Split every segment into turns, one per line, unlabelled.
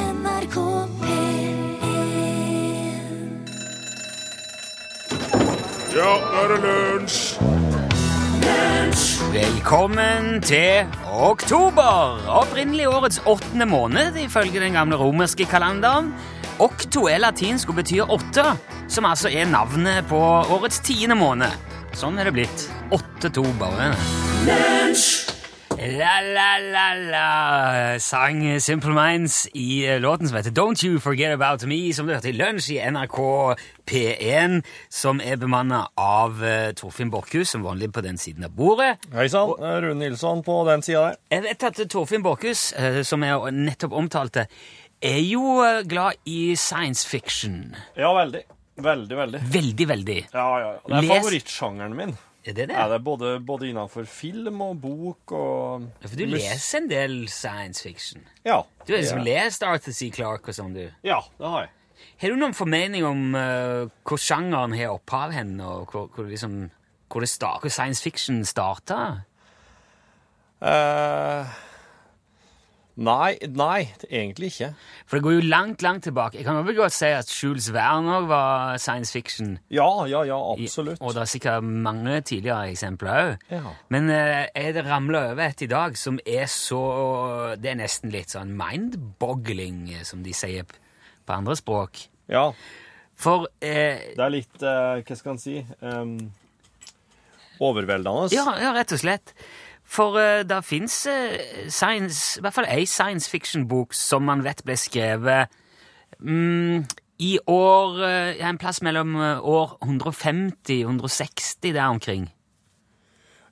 NRK P1
Ja, nå er det lunsj!
Velkommen til oktober! Opprinnelig årets åttende måned, ifølge den gamle romerske kalenderen. Okto er latinsk og betyr åtte, som altså er navnet på årets tiende måned. Sånn er det blitt. Åtte-to-bare. La-la-la-la, sang Simple Minds i eh, låten som heter Don't You Forget About Me, som du hørte i lunsj i NRK P1, som er bemanna av eh, Torfinn Borchhus, som vanlig på den siden av bordet.
Hei sann, eh, Rune Nilsson på den sida der.
Jeg vet at Torfinn Borchhus, eh, som jeg nettopp omtalte, er jo eh, glad i science fiction.
Ja, veldig. Veldig, veldig.
Veldig, veldig.
Ja, ja, ja. Det er
Les-
favorittsjangeren min.
Er det det?
Ja, det er både, både innenfor film og bok og
Ja, For du
mus-
leser en del science fiction.
Ja.
Du har liksom
ja.
lest Arthur C. Clarke og sånn, du.
ja, det har jeg.
Har du noen formening om eh, hvor sjangeren har opphav hen, og hvor, hvor, liksom, hvor, det sta- hvor science fiction starta?
Eh, nei, nei, egentlig ikke.
For det går jo langt, langt tilbake. Jeg kan vel godt si at Jules Werner var science fiction.
Ja, ja, ja,
I-
absolutt.
Og det er sikkert mange tidligere eksempler òg.
Ja.
Men eh, jeg det ramler over et i dag som er så Det er nesten litt sånn mind-boggling, eh, som de sier p- på andre språk.
Ja,
For eh,
det er litt eh, Hva skal en si? Em, overveldende.
ja, ja, rett og slett. For eh, det fins eh, science I hvert fall ei science fiction-bok som man vet ble skrevet mm, i år eh, ja, En plass mellom eh, år 150-160 der omkring.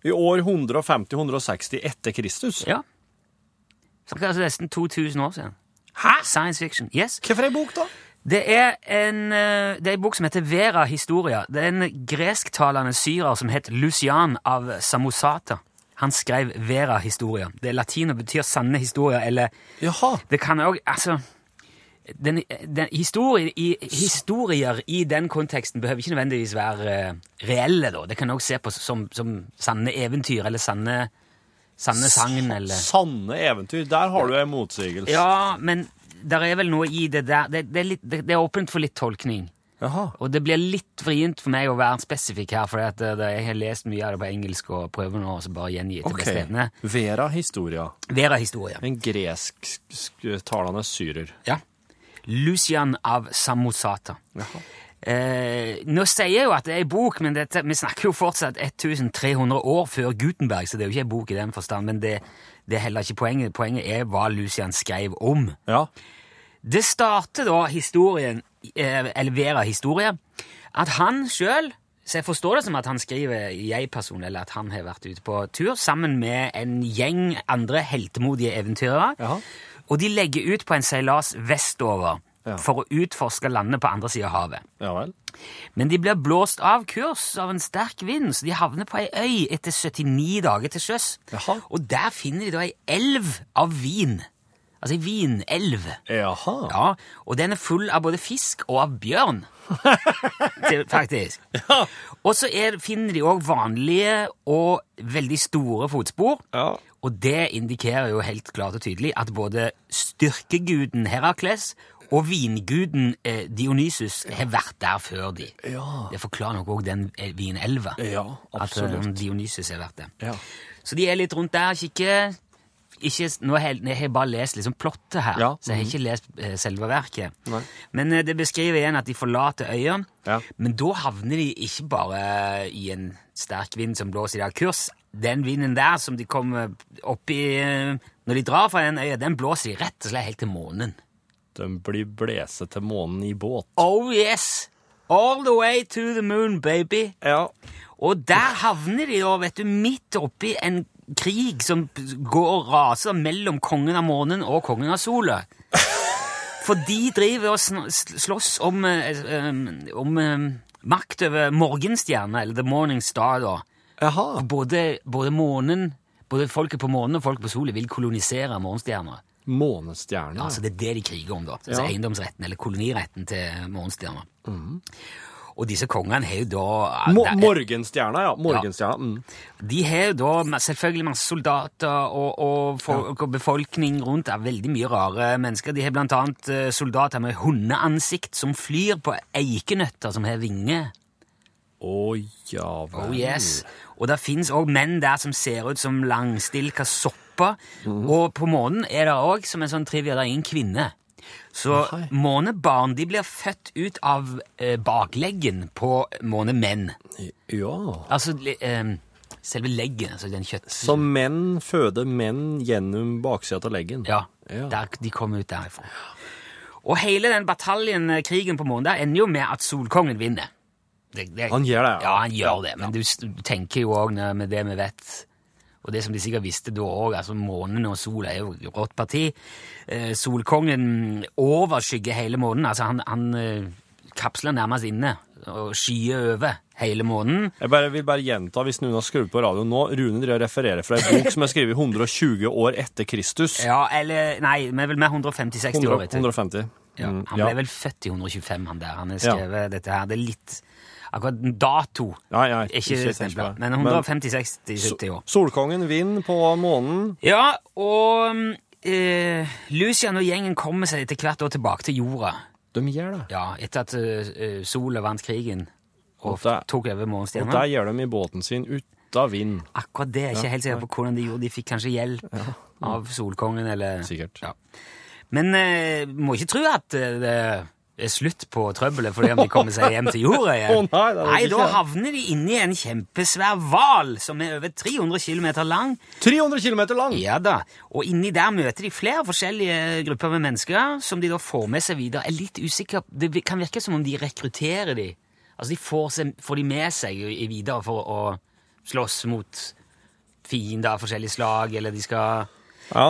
I år 150-160 etter Kristus.
Ja. Snakker altså nesten 2000 år siden.
Hæ?
Science fiction. Yes.
Hvorfor ei bok, da?
Det er en, eh, det er en bok som heter Vera Historia. Det er en gresktalende syrer som het Lucian av Samosata. Han skrev Vera Historia. Det er latin og betyr sanne historier, eller
Jaha.
Det kan òg Altså den, den, historie, i, Historier i den konteksten behøver ikke nødvendigvis være eh, reelle, da. Det kan òg se på som, som sanne eventyr, eller sanne, sanne sagn, eller
Sanne eventyr. Der har du ei motsigelse.
Ja, men der er vel noe i det der. Det, det, er litt, det, det er åpent for litt tolkning.
Jaha.
Og det blir litt vrient for meg å være spesifikk her, for at eh, det, jeg har lest mye av det på engelsk og prøver nå å bare gjengi etter beste evne.
Vera Historia,
Vera-historie.
en gresktalende syrer.
Ja. Lucian av Samosata. Eh, nå sier jeg jo at det er ei bok, men dette, vi snakker jo fortsatt 1300 år før Gutenberg, så det er jo ikke ei bok i den forstand, men det, det er heller ikke poenget. Poenget er hva Lucian skrev om.
Ja.
Det starter da historien, eh, eller Vera historie, at han sjøl Så jeg forstår det som at han skriver jeg-person, eller at han har vært ute på tur sammen med en gjeng andre heltemodige eventyrere.
Jaha.
Og de legger ut på en seilas vestover
Ja.
for å utforske landet på andre sida av havet.
ja vel.
Men de blir blåst av kurs av en sterk vind, så de havner på ei øy etter 79 dager til sjøs.
Jaha.
Og der finner de da ei elv av vin. Altså ei vinelv.
Jaha.
Ja, og den er full av både fisk og av bjørn. Det- Faktisk. Og så er, finner de òg vanlige og veldig store fotspor.
Ja.
Og det indikerer jo helt klart og tydelig at både styrkeguden Herakles og vinguden eh, Dionysus har vært der før de.
Ja.
Det forklarer nok òg den eh, vinelva.
Ja,
at eh, Dionysus har vært der.
Ja.
Så de er litt rundt der, kikker. Ikke, nå har jeg, jeg har bare lest liksom plottet her,
Ja,
så jeg har ikke lest eh, selve verket.
Nei.
Men eh, det beskriver igjen at de forlater øya,
Ja.
men da havner de ikke bare i en sterk vind som blåser i dag kurs. Den vinden der som de kommer opp i eh, når de drar fra den øya, den blåser de rett og slett helt til månen.
De blir blæset til månen i båt.
Oh yes! All the way to the moon, baby!
Ja.
Og der havner de da, vet du, midt oppi en krig som går og raser mellom kongen av månen og kongen av sola. For de driver og sn- sl- slåss om, eh, eh, om eh, makt over morgenstjerna, eller The Morning Star, da.
Jaha.
Både, både månen både folket på månen og folket på sola vil kolonisere morgenstjerna.
Månestjerne.
Altså Det er det de kriger om, da. Altså
Ja.
Eiendomsretten, eller koloniretten til morgenstjerna. Og disse kongene har jo da
Mo
det-
morgenstjerna, ja. Morgenstjerna. Mm.
De har jo da ma- selvfølgelig masse soldater og, og folk og befolkning rundt. er veldig mye rare mennesker. De har blant annet eh, soldater med hundeansikt som flyr på eikenøtter som har vinger.
Å ja vel.
Oh yes. Og det fins òg menn der som ser ut som langstilka sopper. Og på månen er det òg, som en sånn trivia, det er ingen kvinne. Så
Nei.
månebarn de blir født ut av eh, bakleggen på månemenn.
Ja.
Altså li- eh, selve leggen, altså den kjøtt...
Så menn føder menn gjennom baksida av leggen?
Ja,
Ja.
Der, de kom ut derifra. Og hele den bataljen, eh, krigen på månen, der ender jo med at solkongen vinner. Det, det,
Han gjør det, ja.
ja. han gjør det, men du, s- du tenker jo òg med det vi vet, og det som de sikkert visste da òg, altså månen og sola er jo rått parti. Eh, solkongen overskygger hele månen, altså han, han eh, kapsler nærmest inne og skyer over hele månen.
Jeg bare, vil bare gjenta, hvis noen har skrudd på radioen nå, Rune driver og refererer fra ei bok som er skrevet 120 år etter Kristus.
Ja, eller Nei, men vel med 150-60 år,
100,
vet du.
150.
Ja,
Mm,
han ble vel født i 125, han der. Han har
Ja.
skrevet dette her. Det er litt Akkurat dato
Nei, nei,
er ikke,
ikke tenk
stempla,
på det.
men
Men-
150-60-70 år.
Solkongen vinner på månen.
Ja, og mm, eh, Lucian og gjengen kommer seg etter hvert da tilbake til jorda.
De gjør det.
Ja, etter at eh, eh, sola vant krigen og
Og der-
tok over
Og
morgenstjerna.
der gjør de i båten sin uta vind,
Akkurat det er jeg ikke helt sikker på hvordan de gjorde. De fikk kanskje hjelp av solkongen, eller
sikkert.
Ja. Men eh, må ikke tro at eh, det er slutt på trøbbelet fordi om de kommer seg hjem til jorda igjen.
Å nei, det er det ikke.
da havner de inni en kjempesvær hval som er over 300 km lang.
300 km lang!
Ja da, Og inni der møter de flere forskjellige grupper med mennesker som de da får med seg videre. Jeg er litt usikker, Det vi- kan virke som om de rekrutterer de. Altså de får, seg, får de med seg i- i videre for å slåss mot fiender av forskjellige slag, eller de skal
Ja.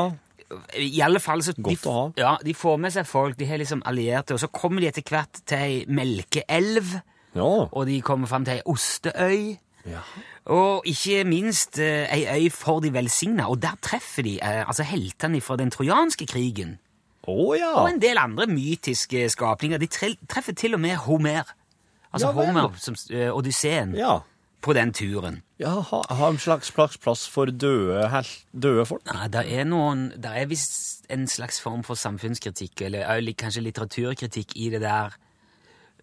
i alle fall så
Godt
de,
å ha.
Ja, de får med seg folk, de har liksom allierte, og så kommer de etter hvert til ei melkeelv,
ja.
og de kommer fram til ei osteøy,
ja.
og ikke minst eh, ei øy for de velsigna, og der treffer de eh, altså heltene fra den trojanske krigen,
Å ja.
og en del andre mytiske skapninger. De tre, treffer til og med Homer, altså
Ja vel.
Homer, som, s- eh, Odysseen,
Ja.
på den turen.
ja ha, ha en slags plass, plass for døde, hel- døde folk.
Nei, det er noen Det er visst en slags form for samfunnskritikk, eller er jo li- kanskje litteraturkritikk i det der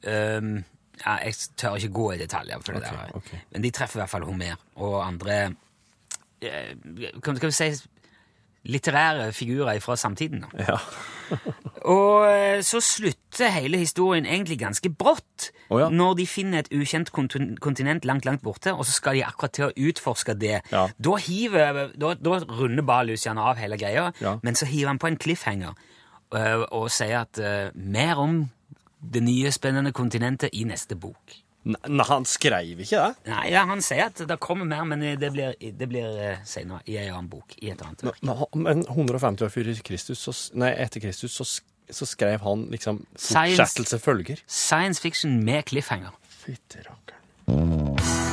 Øhm, ja, Jeg tør ikke gå i detaljer for det
Ok,
der.
ok.
Men de treffer i hvert fall Homer og andre eh, Kan kan vi si litterære figurer fra samtiden. da.
Ja.
Og eh, så slutter hele historien egentlig ganske brått
Å ja.
når de finner et ukjent kontin- kontinent langt, langt borte, og så skal de akkurat til å utforske det.
Ja.
Da, hiver, da, da runder bare Lucian av hele greia,
Ja.
men så hiver han på en cliffhanger eh, og sier at eh, mer om det nye, spennende kontinentet i neste bok.
Nei, nei, han skreiv ikke det.
Nei, ja, han sier at det kommer mer, men det blir, det blir eh, senere i en annen bok, i et annet verk.
Men han- Men 150 år før Kristus, så, s- nei, etter Kristus, så, sk- så skrev han liksom
Science.
fortsettelse følger.
Science fiction med cliffhanger.
Fytti rakkeren.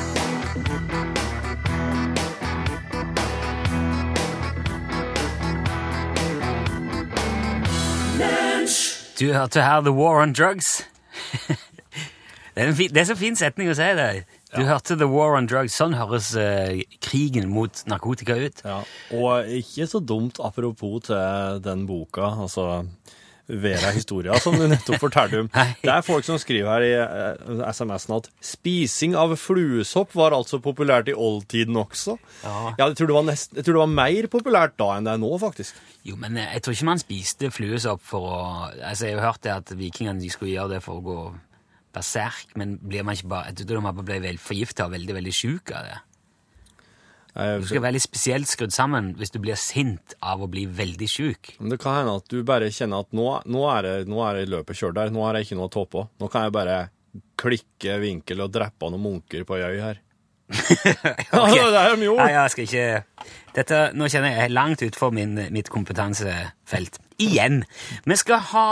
Du hørte her The War on Drugs. det, er en fin, det er så fin setning å si det. Du hørte The War on Drugs. Sånn høres eh, krigen mot narkotika ut.
Ja. Og ikke så dumt apropos til den boka, altså Vera Historia, som du nettopp fortalte om.
Nei.
Det er folk som skriver her i eh, SMS-en at spising av fluesopp var altså populært i oldtiden også.
Ja.
jeg, tror det var nest, jeg tror det var mer populært da enn det er nå, faktisk.
Jo, men eh, jeg tror ikke man spiste fluesopp for å Altså, Jeg har hørt det at vikingene de skulle gjøre det for å gå berserk, men blir man ikke bare Jeg tror man bare ble vel forgifta og veldig, veldig sjuk av det. Du
Eh,
skal være litt spesielt skrudd sammen hvis du blir sint av å bli veldig sjuk.
Men det kan hende at du bare kjenner at nå, nå, er, det, nå er det løpet kjørt der, nå har jeg ikke noe å ta på. Nå kan jeg bare klikke vinkel og dreppe noen munker på ei øy her. Ja, det er det de gjorde.
Nei, jeg skal ikke Dette, Nå kjenner jeg er langt utfor min, mitt kompetansefelt. Igjen. Vi skal ha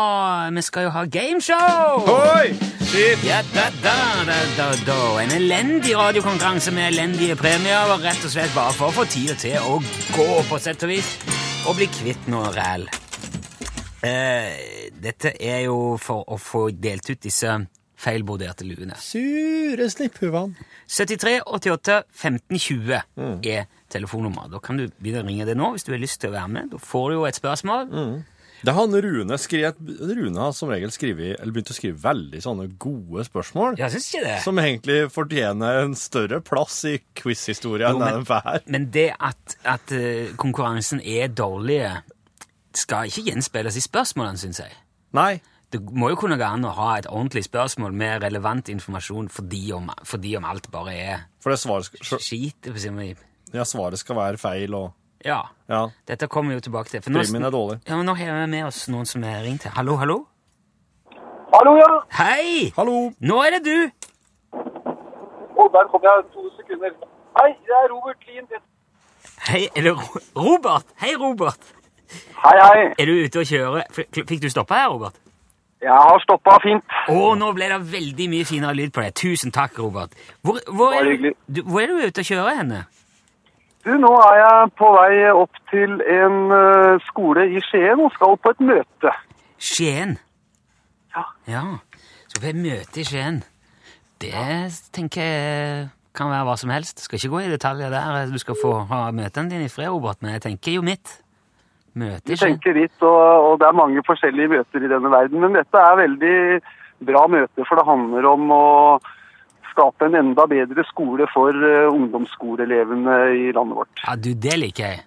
Vi skal jo ha gameshow!
Oi! Shit!
Ja, da, da, da, da, da. En elendig radiokonkurranse med elendige premier, og rett og slett bare for å få tida til å gå, på sett og vis, og bli kvitt noe ræl. Eh, dette er jo for å få delt ut disse feilbroderte luene.
Sure slipphuvene.
73 88 15 20
Mm.
er telefonnummer. Da kan du begynne å ringe det nå hvis du har lyst til å være med. Da får du jo et spørsmål.
Mm. Det er han Rune skrev, Rune har som regel skrevet, eller begynt å skrive veldig sånne gode spørsmål.
Jeg syns ikke det.
Som egentlig fortjener en større plass i quiz-historien
Jo, men-
enn den får.
Men det at, at eh, konkurransen er dårlig, skal ikke gjenspeiles i spørsmålene, syns jeg.
Nei.
Det må jo kunne gå an å ha et ordentlig spørsmål med relevant informasjon fordi om, fordi om alt bare er
For det svaret, skal-
skit. hvis jeg må-
ja, svaret skal være feil, og
Ja.
ja,
Dette kommer vi jo tilbake til. For nå,
primen er dårlig.
ja, men nå har vi med oss noen som har ringt her. Hallo, hallo?
Hallo, ja.
Hei!
Hallo!
Nå er det du!
Å, der kom jeg to sekunder. Hei, det er Robert Lien.
Hei, eller Ro- Robert. Hei, Robert.
Hei, hei.
Er du ute og kjører? F- kl- Fikk du stoppa her, Robert?
Jeg har stoppa fint.
Å, nå ble det veldig mye finere lyd på det. Tusen takk, Robert. Hvor, hvor,
Bare
er, du,
hyggelig.
du- hvor er du ute og kjører henne?
Du, nå er jeg på vei opp til en eh, skole i Skien og skal på et møte.
Skien.
Ja.
Ja. Så vi har møte i Skien. Det tenker jeg kan være hva som helst. Skal ikke gå i detaljer der. Du skal få ha møtene dine i fred, Robert, men jeg tenker jo mitt. Møte i
Jeg
Skien.
tenker litt, og, og det er mange forskjellige møter i denne verden, men dette er veldig bra møte, for det handler om å skape en enda bedre skole for eh, ungdomsskoleelevene i landet vårt.
Ja, du, det liker jeg.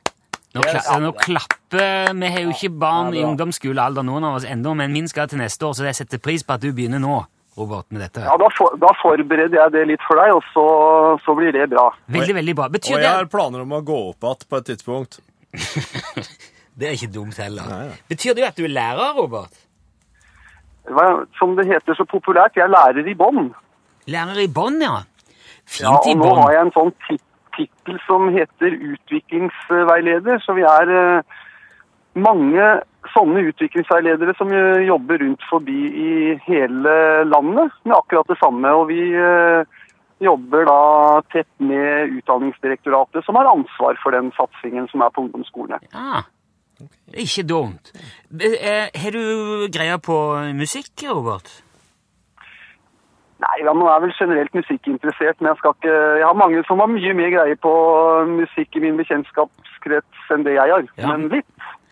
Nå, kla nå klapper Vi har jo ikke barn i ungdomsskolealder, noen av oss ennå, men min skal til neste år, så jeg setter pris på at du begynner nå, Robert, med dette.
Ja, da, for, da forbereder jeg det litt for deg, og så, så blir det bra.
Veldig, veldig bra.
Og
Betyr det
jeg har planer om å gå opp igjen på et tidspunkt.
Det er ikke dumt heller.
Nei, nei.
Betyr det at du er lærer, Robert?
Hva- Som det heter så populært, jeg lærer i bånn.
Lærer i bånn, ja. Fint
Ja, og
i
nå
bånn.
har jeg en sånn ti- tittel som heter utviklingsveileder, så vi er eh, mange sånne utviklingsveiledere som eh, jobber rundt forbi i hele landet med akkurat det samme. Og vi eh, jobber da tett med Utdanningsdirektoratet, som har ansvar for den satsingen som er på ungdomsskolene.
Ja. Ah, Det er ikke dumt. Be- eh, Har du greie på musikk, Robert?
Nei, ja, man er vel generelt musikkinteressert, men jeg skal ikke Jeg har mange som har mye mer greie på musikk i min bekjentskapskrets enn det jeg har.
Ja.
Men litt.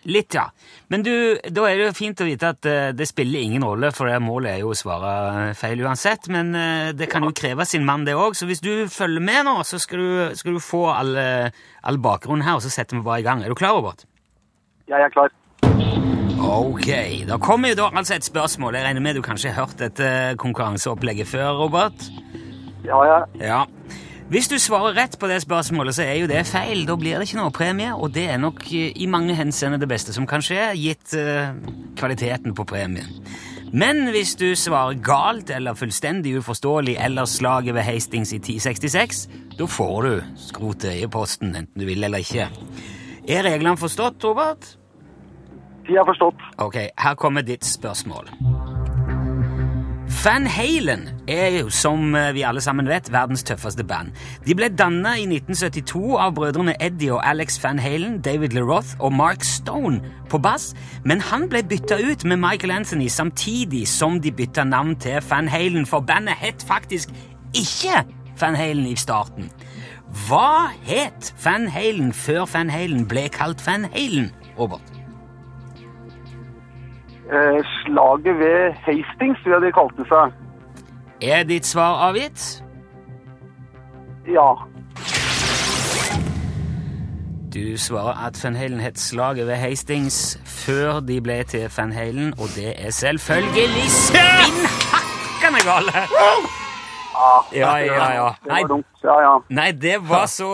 Litt, ja. Men du, da er det jo fint å vite at eh, det spiller ingen rolle, for det målet er jo å svare eh, feil uansett. Men eh, det kan jo kreve sin mann, det òg. Så hvis du følger med nå, så skal du, skal du få all, eh, all bakgrunnen her, og så setter vi bare i gang. Er du klar, Robert?
Jeg er klar.
Ok, da kommer jo da altså et spørsmål. Jeg regner med du kanskje har hørt dette eh, konkurranseopplegget før, Robert?
Ja, jeg,
Ja. Hvis du svarer rett på det spørsmålet, så er jo det feil. Da blir det ikke noe premie, og det er nok eh, i mange henseender det beste som kan skje, gitt eh, kvaliteten på premien. Men hvis du svarer galt eller fullstendig uforståelig eller slaget ved Hastings i 1066, da får du skrotet i posten, enten du vil eller ikke. Er reglene forstått, Robert?
de har forstått.
Ok, her kommer ditt spørsmål. Van Halen er jo, som eh, vi alle sammen vet, verdens tøffeste band. De ble dannet i 1972 av brødrene Eddie og Alex Van Halen, David LeRoth og Mark Stone på bass, men han ble bytta ut med Michael Anthony samtidig som de bytta navn til Van Halen, for bandet het faktisk ikke Van Halen i starten. Hva het Van Halen før Van Halen ble kalt Van Halen, Robert?
Eh, slaget ved Hastings, tror jeg de kalte seg.
Er ditt svar avgitt?
Ja.
Du svarer at Van Halen het slaget ved Hastings før de ble til Van Halen, og det er selvfølgelig spinnhakkende gale! Ja, ja, ja.
Det
Nei,
var dumt. Ja, ja.
nei, det var så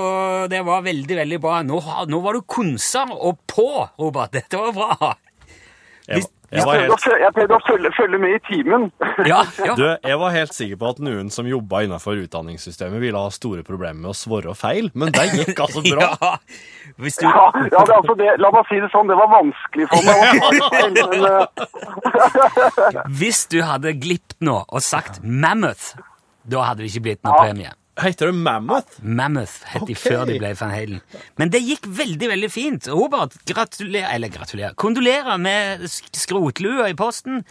Det var veldig, veldig bra. Nå, har- nå var du konsa og på, Robert. Dette var bra.
Jeg,
Hvis-
jeg, var
Prøvde å
helt,
føl- Jeg prøvde å følge, følge med i timen.
Ja, ja.
du, jeg var helt sikker på at noen som jobba innenfor utdanningssystemet, ville ha store problemer med å svare feil, men det gikk altså bra.
Ja. Hvis du
Ja, ja det, er altså det, la meg si det sånn, det var vanskelig for meg. Men, eh,
Hvis du hadde glipt nå og sagt Mammoth, da hadde det ikke blitt noe
Ja.
premie.
Heter det Mammoth?
Mammoth het de
Ok.
før de ble Van Halen. Men det gikk veldig veldig fint. Robert, gratulerer Eller gratulerer. Kondolerer med sk- skrotlua i posten.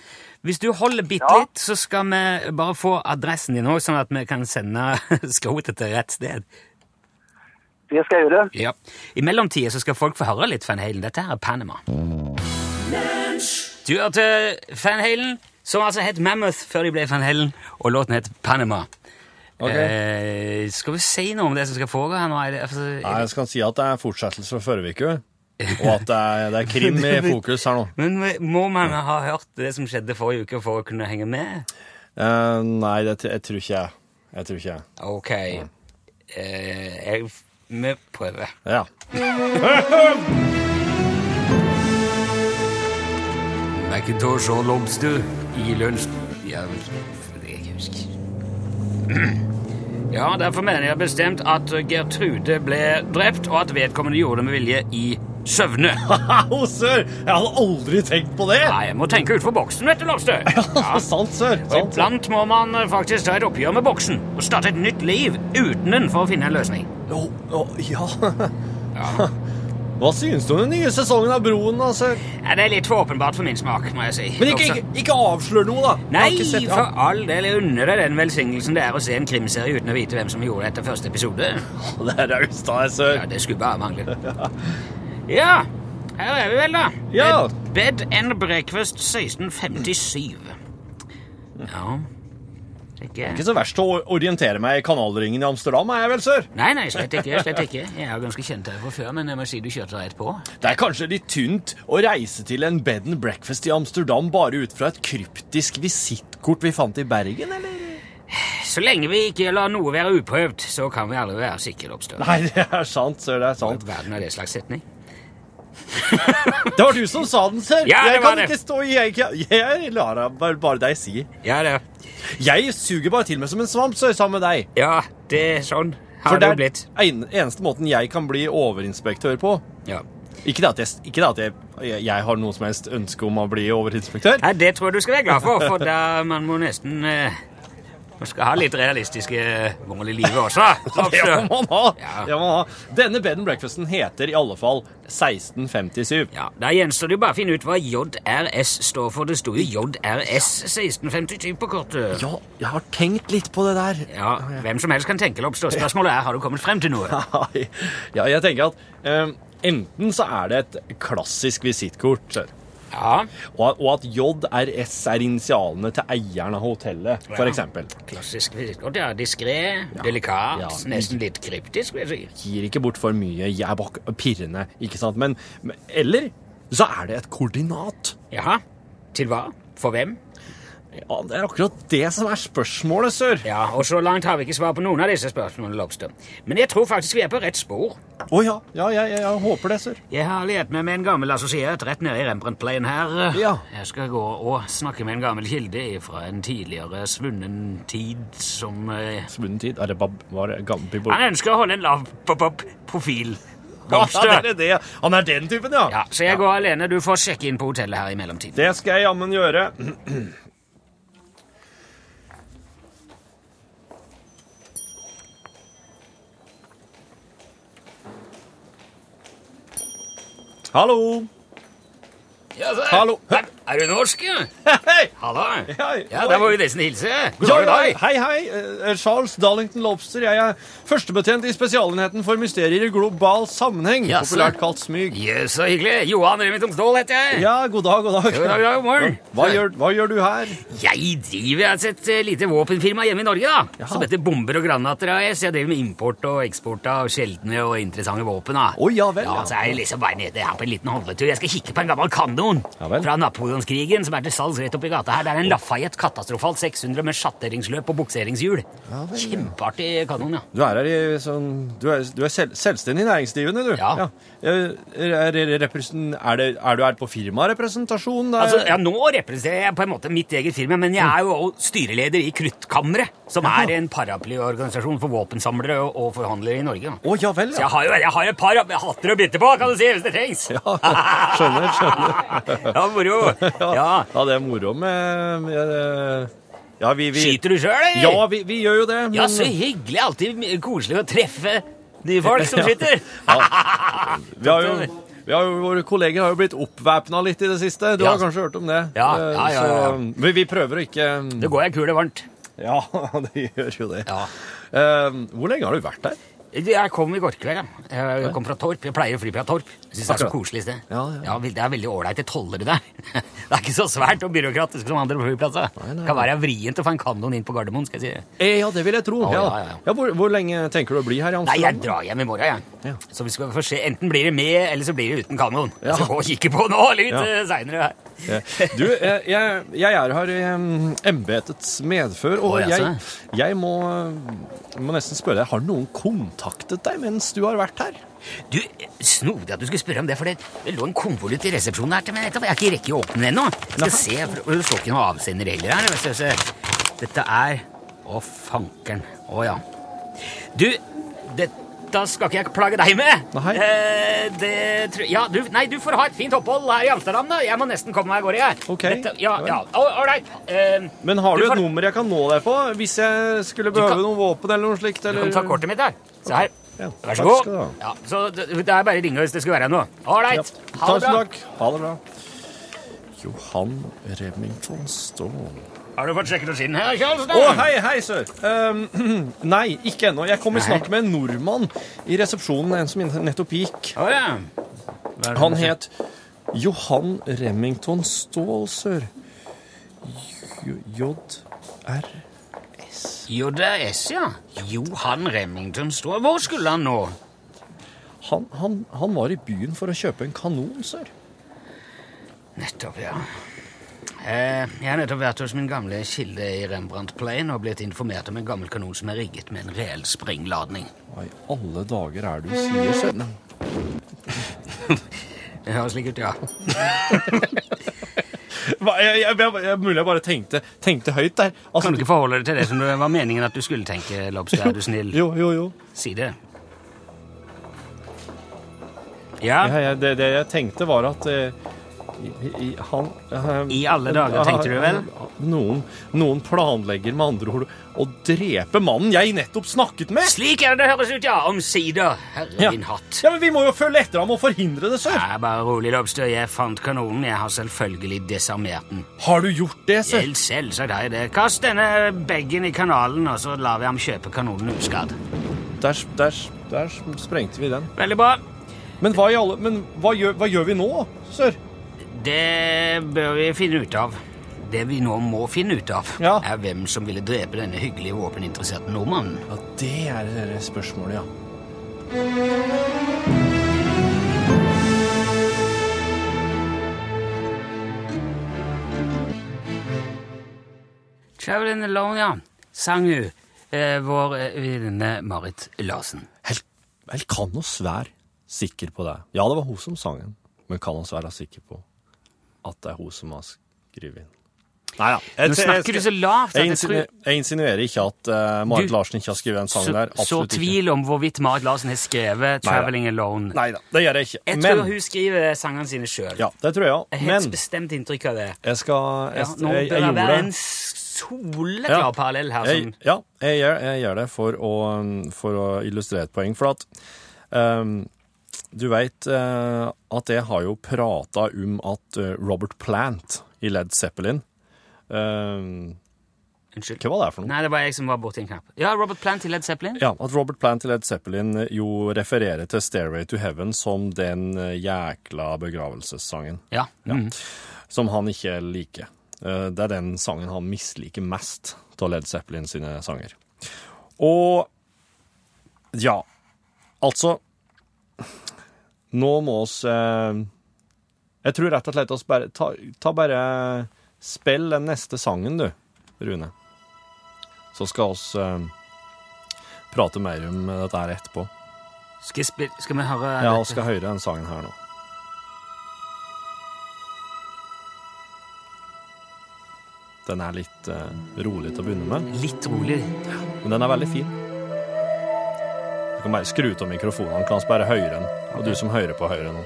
Hvis du holder bitte
Ja.
litt, så skal vi bare få adressen din òg, sånn at vi kan sende skrotet til rett sted.
Det skal jeg gjøre.
Ja. I mellomtida så skal folk få høre litt Van Halen. Dette her er Panama. Du hørte Van Halen, som altså het Mammoth før de ble Van Halen, og låten het Panama.
Ok.
Eh, skal vi si noe om det som skal foregå her nå? Er det, altså,
Nei, jeg skal si at det er fortsettelse fra forrige uke, og at det er, det er krim i fokus her nå.
Men må man ha hørt det som skjedde forrige uke for å kunne henge med?
Eh, nei, det, jeg tror ikke jeg. Jeg tror ikke jeg.
Ok. Eh, jeg, vi prøver.
Ja.
Macintosh og Lobster i lunsj... Ja, det kan jeg husker. Ja, derfor mener jeg bestemt at Gertrude ble drept, og at vedkommende gjorde det med vilje i søvne.
Au, sør! Jeg hadde aldri tenkt på det!
Nei, jeg må tenke utenfor boksen, vet du, Lobster.
Ja, sant, sør.
Og
Sant, sør.
iblant må man eh, faktisk ta et oppgjør med boksen og starte et nytt liv uten den for å finne en løsning.
Å, å, ja.
Ja.
Hva syns du om den nye sesongen av Broen, da, sør?
Ja, det er litt for åpenbart for min smak, må jeg si.
Men ikke, ikke, ikke avslør noe, da. Jeg har
Nei,
ikke sett-
for
ja.
all del jeg unner deg den velsignelsen det er å se en krimserie uten å vite hvem som gjorde det etter første episode.
Det er raust av deg,
Ja,
sør.
det skulle bare mangle. Ja, her er vi vel, da.
Ja.
Bed, bed and breakfast 1657. Ja Det er
Ikke
ikke
så verst å orientere meg i kanalringen i Amsterdam, er jeg vel, sør?
Nei, nei, slett ikke. slett ikke. Jeg er jo ganske kjent her fra før, men jeg må si du kjørte rett på.
Det er kanskje litt tynt å reise til en bed and breakfast i Amsterdam bare ut fra et kryptisk visittkort vi fant i Bergen, eller?
Så lenge vi ikke lar noe være uprøvd, så kan vi aldri være sikre, Lobstø.
Nei, det er sant, sør, det er sant.
Verden er det slags setning.
Det var du som sa den, sør.
Ja, det
jeg
var
kan
det.
ikke stå i jeg, jeg, jeg lar bare, bare deg si.
Ja, det er.
Jeg suger bare til meg som en svamp, sør, sammen med deg.
Ja, det er sånn har
For
det
det
jo
er
blitt.
en, eneste måten jeg kan bli overinspektør på.
Ja.
Ikke det at, jeg, ikke det at jeg, jeg, jeg har noe som helst ønske om å bli overinspektør.
Nei, det tror jeg du skal være glad for, for da man må nesten eh, Man skal ha litt realistiske eh, mål i livet også.
Det må
Absolutt.
man ha!
Ja.
Det må man ha. Denne bed and breakfasten heter i alle fall 1657.
Ja, Da gjenstår det jo bare å finne ut hva JRS står for. Det sto jo JRS 1657 på kortet.
Ja, jeg har tenkt litt på det der.
Ja, Hvem som helst kan tenke eller oppstå. Spørsmålet er har du kommet frem til noe.
Ja, jeg tenker at eh, enten så er det et klassisk visittkort,
Ja,
og, og at JRS er initialene til eieren av hotellet, for
Ja.
eksempel.
Klassisk visittkort. ja, Diskré, delikat,
Ja.
nesten litt kryptisk. vil jeg si.
Gir ikke bort for mye, jeg er bak pirrende, ikke sant? Men, men, eller så er det et koordinat.
Jaha. Til hva? For hvem?
Ja, det er akkurat det som er spørsmålet, sør. Å
Ja, og Så langt har vi ikke svar på noen av disse spørsmålene. Lobster. Men jeg tror faktisk vi er på rett spor.
ja, ja, jeg, jeg, jeg håper det, sør.
Jeg har lett meg med en gammel assosiert rett nede i Rembrandt-pleien her.
Ja.
Jeg skal gå og snakke med en gammel kilde fra en tidligere svunnen tid som eh,
Svunnen tid. Er det bab... Var det gambi...
Han ønsker å holde en lav pop-up profil.
Ja, det
Blomster.
er det. Han er den typen, ja.
Ja, så jeg går alene. Du får sjekke inn på hotellet her i mellomtiden.
Det skal jeg jammen gjøre. Hallo!
Ja, så-
Hallo.
Er, er du norsk? ja?
Hei!
Hallo.
Hei.
Ja, da må vi nesten hilse. God
Ja,
dag,
ja,
dag.
hei, hei. Eh, Charles Darlington Lobster. Jeg er førstebetjent i Spesialenheten for mysterier i global sammenheng.
Jaså.
Populært kalt SMYG.
Jøss, så hyggelig. Johan Remington Ståhl heter jeg.
Ja, god dag, god dag.
God dag, god dag, morgen.
Hva gjør, hva gjør du her?
Jeg driver altså et eh, lite våpenfirma hjemme i Norge, da.
Jaha.
Som heter Bomber og granater AS. Jeg driver med import og eksport av sjeldne og interessante våpen. da.
Å, ja vel,
Ja,
ja.
så er jeg liksom bare nede her på en liten handletur. Jeg skal kikke på en gammel kanon
Ja vel.
fra Napoleonskrigen som er til salgs rett oppi gata her. Det er en Lafayette katastrofalt 600 med sjatteringsløp og bukseringshjul. Kjempeartig kanon, ja.
Du er her i sånn Du er, du er selv, selvstendig næringsdrivende, du.
Ja.
Eh, Er, er, represen- er, det, er du her på firmarepresentasjon? Det er-
Altså, ja, Nå representerer jeg på en måte mitt eget firma, men jeg er jo også styreleder i Kruttkammeret, som er en paraplyorganisasjon for våpensamlere og, og forhandlere i Norge. da.
Å, ja vel,
Så jeg
ja.
har jo jeg har et par hatter å bytte på, kan du si, hvis det trengs. Ja,
Skjønner, skjønner.
moro. Ja.
ja, det er moro med, med eh, Ja, vi, vi,
Skyter du sjøl, eller?
Ja, vi, vi gjør jo det.
Ja,
men-
så hyggelig. Alltid koselig å treffe nye folk som skyter.
Vi har jo, vi har jo, våre kolleger har jo blitt oppvæpna litt i det siste. Du
Ja.
har kanskje hørt om det?
Ja,
Eh,
ja, ja, ja.
Så, men vi prøver å ikke
Det går ei kule varmt.
Ja, det gjør jo det.
Ja.
Eh, hvor lenge har du vært der?
Jeg kom i går kveld. ja. Jeg kom fra Torp. Jeg pleier å fly fra Torp. Jeg synes det er så
Akkurat.
koselig sted.
Ja, ja.
vel- Det er veldig ålreite tollere der. Det er ikke så svært og byråkratisk som andre flyplasser.
nei.
Kan være vrient å få en kanon inn på Gardermoen, skal jeg si.
Eh, ja, det vil jeg tro.
Ja,
ja.
ja, ja, ja.
hvor, hvor lenge tenker du å bli her i
Nei, jeg
Amsterdam?
drar hjem i morgen, jeg.
Ja.
Så vi skal få se. Enten blir det med, eller så blir det uten kanon.
Ja.
Så gå og kikke på nå litt
Ja.
ja. seinere.
Eh, Du, eh, jeg, jeg er her i em, embetets medfør, og
Å,
jeg,
jaså.
jeg må, eh, må nesten spørre deg, har noen kontaktet deg mens du har vært her?
Du, Snodig at du skulle spørre om det, for det det lå en konvolutt i resepsjonen her til meg nettopp. Jeg har ikke rekket å åpne den ennå. Jeg skal se, for Det står ikke noe avsender heller her. Jeg skal se. Dette er Å, fankeren. Å ja. Du, dette skal ikke jeg plage deg med.
Nei.
Eh, det tror Ja, du Nei, du får ha et fint opphold her i Amsterdam, da. Jeg må nesten komme meg av gårde, jeg.
Ok.
Dette, ja, ja. Ålreit. Eh,
Men har du,
får-
et nummer jeg kan nå deg på hvis jeg skulle
kan-
behøve noen våpen eller noe slikt?
Du kan
Eller?
ta kortet mitt der. Se her.
Ja,
Vær så
takk
god.
skal du ha.
Ja, så det det er bare å ringe hvis det skulle være noe. Ålreit. Ha det
Tusen
bra.
takk. Ha det bra. Johan Remington Stone.
Har du fått sjekket oss inn her, Kjølstad?
Å, hei, hei, sir! Ehm, nei, ikke ennå. Jeg kommer snart med en nordmann i resepsjonen. En som nettopp gikk.
Å ja. Hva er det
Han
du
het Johan Remington Ståhl, sir. J-R
sier? Jo, det er S, ja. Johan Remington står Hvor skulle han nå?
han, han, han var i byen for å kjøpe en kanon, sir.
Nettopp, ja. Eh, Jeg har nettopp vært hos min gamle kilde i Rembrandt Plain og blitt informert om en gammel kanon som er rigget med en reell springladning.
Hva i alle dager er det du sier, sir?
Det høres slik ut, ja.
Hva, jeg, jeg, jeg, jeg, mulig jeg bare tenkte, tenkte høyt der. Altså,
Kan du ikke forholde deg til det som det var meningen at du skulle tenke, Lobster? Er du snill?
Jo, jo, jo.
Si det. Ja,
Jeg, jeg, det, det jeg tenkte var at eh, i, i, han, eh,
I alle dager, tenkte du vel?
Noen, noen planlegger med andre ord å drepe mannen jeg nettopp snakket med!
slik er det det høres ut, ja. Omsider. Herre
Ja.
min hatt.
Ja, men Vi må jo følge etter ham og forhindre det, sir!
Nei, bare rolig, Lobster. Jeg fant kanonen. Jeg har selvfølgelig desarmert den.
Har du gjort det, sir?
Helt selvsagt har jeg det. Kast denne bagen i kanalen, og så lar vi ham kjøpe kanonen uskadd.
Der, der, der sprengte vi den.
Veldig bra.
Men hva, i alle, men hva, gjør, hva gjør vi nå, sir?
Det bør vi finne ut av. Det vi nå må finne ut av,
Ja.
er hvem som ville drepe denne hyggelige våpeninteresserte nordmannen.
Ja, Det er det der spørsmålet, ja.
Traveling alone, ja, sang hun. Eh, vår eh, venninne Marit Larsen.
Hel, hel kan oss være sikker på det. Ja, det var hun som sang den, men kan oss være sikker på at det er hun som har skrevet den? Nei da.
Nå snakker du så lavt at
Jeg,
jeg tror
insinu- jeg insinuerer ikke at eh, Marit
Du-
Larsen ikke har skrevet den sangen
så,
der.
så
Absolutt ikke.
tvil om hvorvidt Marit Larsen har skrevet 'Traveling Alone'.
Nei da, det gjør jeg ikke.
Jeg
men
tror hun skriver sangene sine sjøl.
Ja, det tror jeg
Jeg
òg.
har
Men
helt bestemt inntrykk av det.
jeg skal
Ja,
Jeg,
nå
jeg, jeg,
bør det
gjorde
være en
det.
soleklar
Ja.
parallell her.
Jeg,
Som,
ja, jeg gjør, jeg gjør det for å, um, for å illustrere et poeng. For at um, du veit eh, at jeg har jo prata om at eh, Robert Plant i Led Zeppelin um,
unnskyld.
Hva var det for noe?
Nei, det var jeg som var borti en knapp. Ja, Robert Plant i Led Zeppelin.
Ja, At Robert Plant i Led Zeppelin eh, jo refererer til Stairway to Heaven som den eh, jækla begravelsessangen.
Ja. Mm.
Som han ikke liker. Eh, Det er den sangen han misliker mest av Led Zeppelin sine sanger. Og ja, altså Nå må oss eh, Jeg tror rett og slett oss bare Ta, ta bare Spill den neste sangen, du, Rune. Så skal oss eh, prate mer om dette her etterpå.
Skal, jeg spille, skal vi høre
Ja, vi skal høre den sangen her nå. Den er litt eh, rolig til å begynne med,
litt rolig?
men den er veldig fin. Du kan bare skru ut av mikrofonen, kan vi bare høre den. Og du som hører på, hører nå.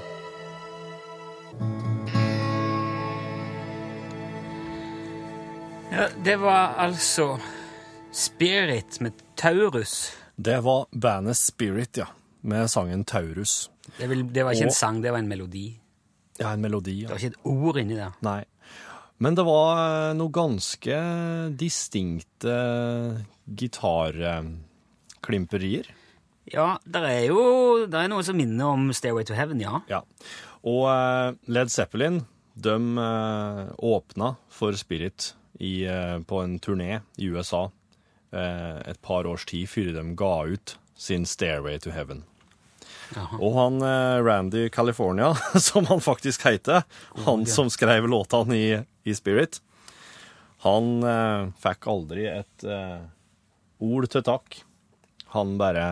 Ja, det var altså Spirit med Taurus.
Det var bandet Spirit, ja, med sangen Taurus.
Det, vil, det var ikke
Og-
en sang, det var en melodi.
Ja, en melodi.
Det
Ja.
var ikke et ord inni der.
Nei. Men det var eh, noe ganske distinkte eh, gitarklimperier.
Ja, det er jo der er noe som minner om Stairway to Heaven, ja.
Ja. Og eh, Led Zeppelin, de eh, åpna for Spirit i, eh, på en turné i USA eh, et par års tid før de ga ut sin Stairway to Heaven.
Jaha.
Og han eh, Randy California, som han faktisk heter, han som skrev låtene i, i Spirit, han eh, fikk aldri et eh, ord til takk. Han bare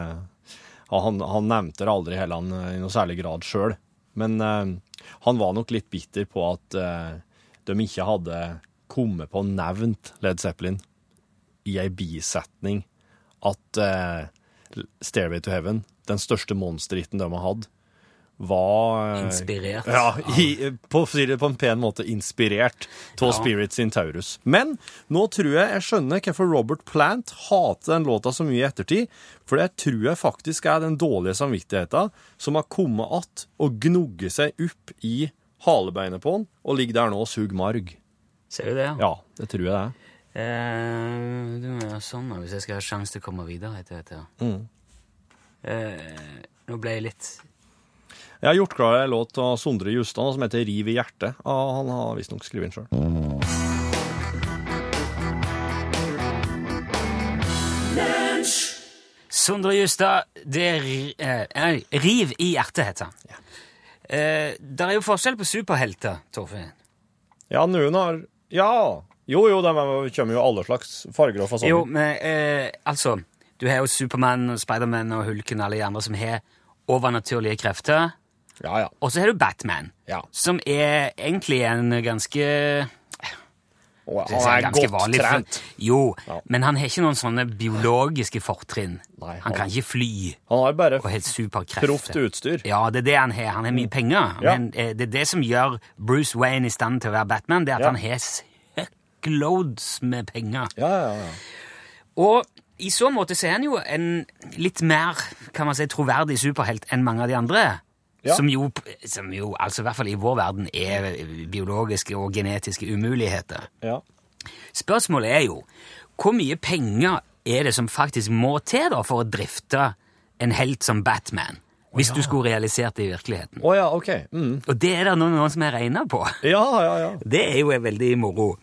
ja, han, han nevnte det aldri heller han, eh, i noe særlig grad sjøl. Men eh, han var nok litt bitter på at eh, de ikke hadde kommet på å nevnt Led Zeppelin i ei bisetning at eh, Stairway to Heaven, den største monsterhitten de har hatt, var eh,
Inspirert.
Ja, i, på, å si det på en pen måte inspirert av Spirit sin Taurus. Men nå tror jeg jeg skjønner hvorfor Robert Plant hater den låta så mye i ettertid, for det tror jeg faktisk er den dårlige samvittigheten som har kommet att og gnogget seg opp i halebeinet på han, og ligger der nå og suger marg.
Ser du det?
Ja, det tror jeg det er.
Eh, det må være sånn da, hvis jeg skal ha sjanse til å komme videre etter dette. Eh, nå ble jeg litt
Jeg har gjort klar en låt av Sondre Justad som heter Riv i hjertet. Ah, han har visstnok skrevet den sjøl.
Sondre Justad, det er ri- eh, nei, Riv i hjertet, heter han. Eh, det er jo forskjell på superhelter, Torfinn.
Ja, noen har Ja! Jo, jo, de kommer jo alle slags farger og fasonger.
Jo, men eh, altså Du har jo Supermann og Spiderman og Hulken og alle de andre som har overnaturlige krefter.
Ja, ja.
Og så har du Batman,
Ja.
som er egentlig en ganske
Og
skal jeg si,
han er
ganske
godt
for-
trent.
Jo,
Ja.
men han har ikke noen sånne biologiske fortrinn.
Nei,
han,
han-
kan ikke fly
Han har bare
og helt superkrefter.
proft utstyr.
Ja, det er det han har. Han har mye penger.
Mm. Ja.
Men eh, det er det som gjør Bruce Wayne i stand til å være Batman, det er at
Ja.
han har søkkloads med penger.
Ja, ja, ja.
Og i så måte så er han jo en litt mer, kan man si, troverdig superhelt enn mange av de andre.
Ja.
Som, jo, som jo, altså i hvert fall i vår verden, er biologiske og genetiske umuligheter.
ja.
Spørsmålet er jo hvor mye penger er det som faktisk må til da for å drifte en helt som Batman? Hvis du skulle realisert det i virkeligheten.
Å ja, OK. Mm.
Og det er det noen, noen som har regna på.
Ja, ja, ja.
Det er jo veldig moro.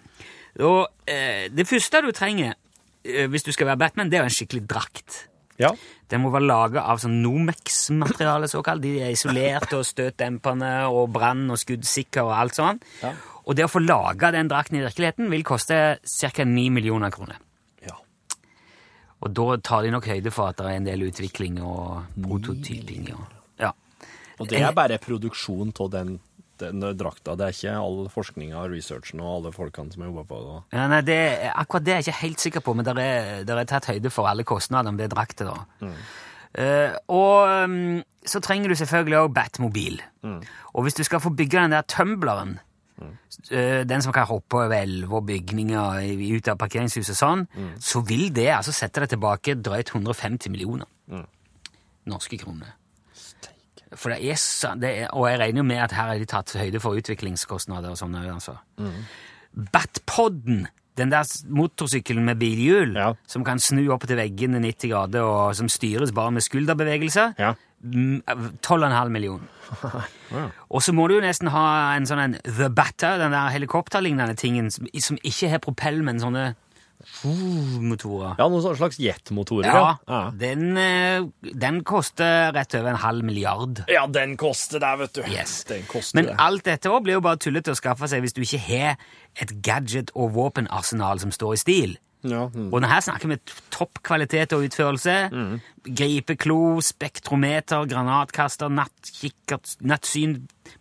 Og eh, det første du trenger eh, hvis du skal være Batman, det er jo en skikkelig drakt.
Ja,
Den må være laga av sånn Nomex-materiale, såkalt. De er isolerte og støtdempende og brann- og skuddsikre og alt sånn.
Ja.
Og det å få laga den drakten i virkeligheten vil koste ca. 9 millioner kroner.
ja.
Og da tar de nok høyde for at det er en del utvikling og prototyping. Og, ja.
Og det er bare produksjon av den, den drakta. Det er ikke all forskninga og researchen og alle folkene som har jobba på det.
Ja, nei, det, akkurat det er jeg ikke helt sikker på, men det er, der er tatt høyde for alle kostnadene med drakter. da. Eh, og mm, så trenger du selvfølgelig også Batmobil. Og hvis du skal få bygge den der tømbleren, eh, den som kan hoppe over elver og bygninger i- ut av parkeringshuset og sånn, så vil det altså sette deg tilbake drøyt 150 millioner norske kroner. For det er, så- det er, og jeg regner jo med at her er de tatt høyde for utviklingskostnader og sånne. Altså. Batpodden, den der s- motorsykkelen med bilhjul,
Ja.
som kan snu opp til veggene 90 grader, og som styres bare med skulderbevegelser,
Ja.
mm, 12,5 millioner. Og så må du jo nesten ha en sånn en The Batter, den der helikopterlignende tingen, som, som ikke har propell, men sånne uh, motorer.
Ja, noen sånne slags jetmotorer.
Ja,
ja.
Den, eh, den koster rett over en halv milliard.
Ja, den koster der, vet du.
Yes.
Den koster
Men
det.
alt dette også blir jo bare tullete å skaffe seg hvis du ikke har et gadget- og våpenarsenal som står i stil.
Ja, mm.
Og her snakker vi t- topp kvalitet og utførelse. Gripeklo, spektrometer, granatkaster, nattkikkert, nattsyn,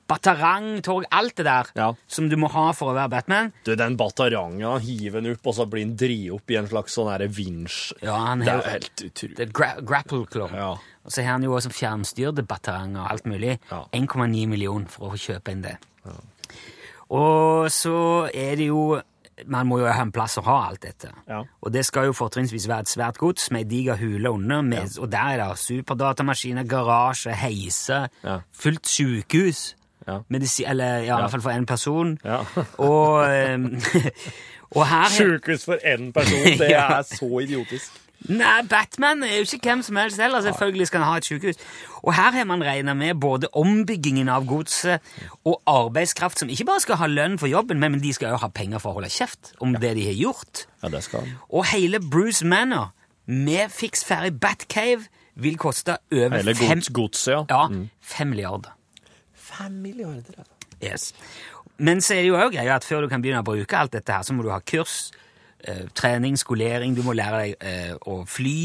batarang, tog, alt det der
Ja.
som du må ha for å være Batman.
Du, den batarangen hiver den opp, og så blir den dri opp i en slags sånn her vinsj.
Ja, han
det
har
er
jo-
jo helt utrolig.
Det er gra grapple claw.
Ja.
Og så har han jo også fjernstyrte batteringer og alt mulig.
Ja.
1,9 million for å kjøpe inn det. Og så er det jo man må jo ha en plass å ha alt dette.
Ja.
Og det skal jo fortrinnsvis være et svært gods med ei diger hule under, med, og der er det superdatamaskiner, garasje, heiser,
Ja.
fullt sjukehus,
Ja.
medisi- eller ja, i hvert fall for én person.
Ja.
Og, ehm, og her
Sjukehus for én person, det
Ja.
er så idiotisk.
Nei, Batman er jo ikke hvem som helst heller. Selvfølgelig skal han ha et sykehus. Og her har man regna med både ombyggingen av godset og arbeidskraft, som ikke bare skal ha lønn for jobben, men de skal jo ha penger for å holde kjeft om det de har gjort.
Ja, det skal han.
Og hele Bruce Manor med fiks ferdig Batcave vil koste over
Hele
fem,
gods, godset, ja. Mm.
ja, fem milliarder.
Fem milliarder. altså. ja.
Yes. Men så er det jo også greia at før du kan begynne å bruke alt dette her, så må du ha kurs, eh, trening, skolering, du må lære deg eh, å fly,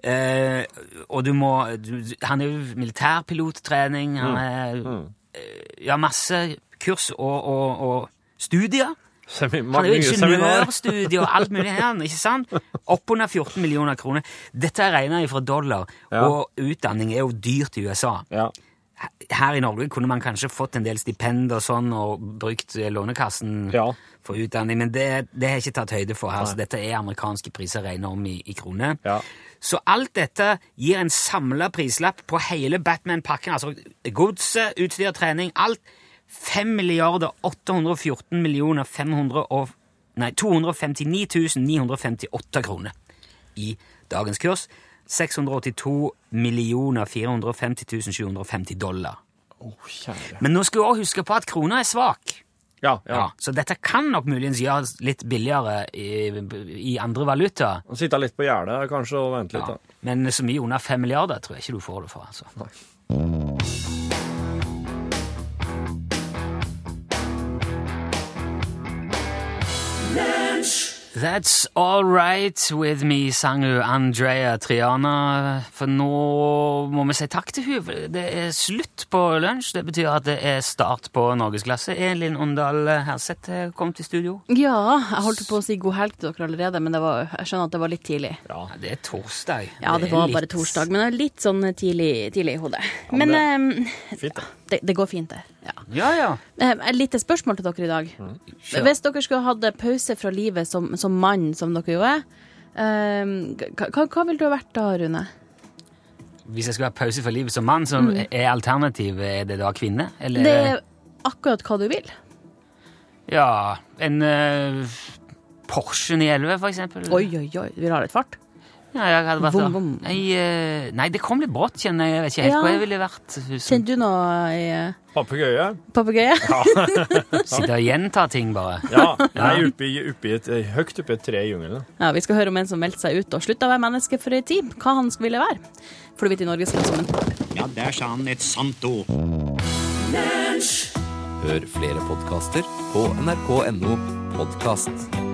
eh, og du må du, Han er jo militærpilottrening,
Mm.
han er eh, Ja, masse kurs og, og, og studier.
Semi-
Han er jo
mye seminar.
ingeniørstudie og alt mulig her, ikke sant? Oppunder 14 millioner kroner. Dette er regna ifra dollar,
Ja.
og utdanning er jo dyrt i USA.
Ja.
Her i Norge kunne man kanskje fått en del stipend og sånn, og brukt Lånekassen
Ja.
for utdanning, men det, det har jeg ikke tatt høyde for her, så dette er amerikanske priser regnet om i, i kroner.
Ja.
Så alt dette gir en samla prislapp på hele Batman-pakken, altså godset, utstyr, trening, alt. 5 milliarder 814 millioner 500 og, nei, 259 958 kroner i dagens kurs. 682 millioner 450 750 dollar.
Å, kjære.
Men nå skal vi også huske på at krona er svak.
Ja, ja.
Ja. Så dette kan nok muligens gjøres litt billigere i, i andre valutaer.
Han Sitte litt på gjerdet kanskje og vente litt.
Ja.
da.
Men så mye under fem milliarder tror jeg ikke du får det for. altså. That's all right with me, sang hun Andrea Triana. For nå må vi si takk til hun. for Det er slutt på lunsj. Det betyr at det er start på norgesklasse. Elin Ondal Herseth kom til studio.
Ja, jeg holdt på å si god helg til dere allerede, men det var, jeg skjønner at det var litt tidlig.
Ja.
Ja, det er torsdag.
Ja, det
er
var
litt-
bare torsdag, men det var litt sånn tidlig, tidlig i hodet. Men eh,
Fint, det.
det, det går fint, det. Ja. Mm.
Ja, ja.
Eh, Et lite spørsmål til dere i dag. Hvis dere skulle hatt pause fra livet som, som mann, som dere jo er, eh, hva, hva- hva ville du ha vært da, Rune?
Hvis jeg skulle ha pause for livet som mann, så er alternativet er det da kvinne? Eller
Mm. Det er akkurat hva du vil.
ja, en eh, Porsche 911, for eksempel?
Oi, oi, oi, du vil ha litt fart?
Ja, jeg hadde vært
Vom,
da.
vom.
Nei, eh, nei, det kom litt brått, kjenner jeg. Jeg vet ikke helt
Ja.
hvor jeg ville vært. Som
Kjenner du noe i eh,
Papegøye?
papegøye?
sitter og gjentar ting, bare.
Ja. Nei, oppi, oppi et, høyt oppi et tre i jungelen.
Ja, vi skal høre om en som meldte seg ut og slutta å være menneske for ei tid. Hva han skulle ville være. Får du vite i Norge skal som en
Ja, der sa han et sant ord.
Hør flere podkaster på nrk.no podkast.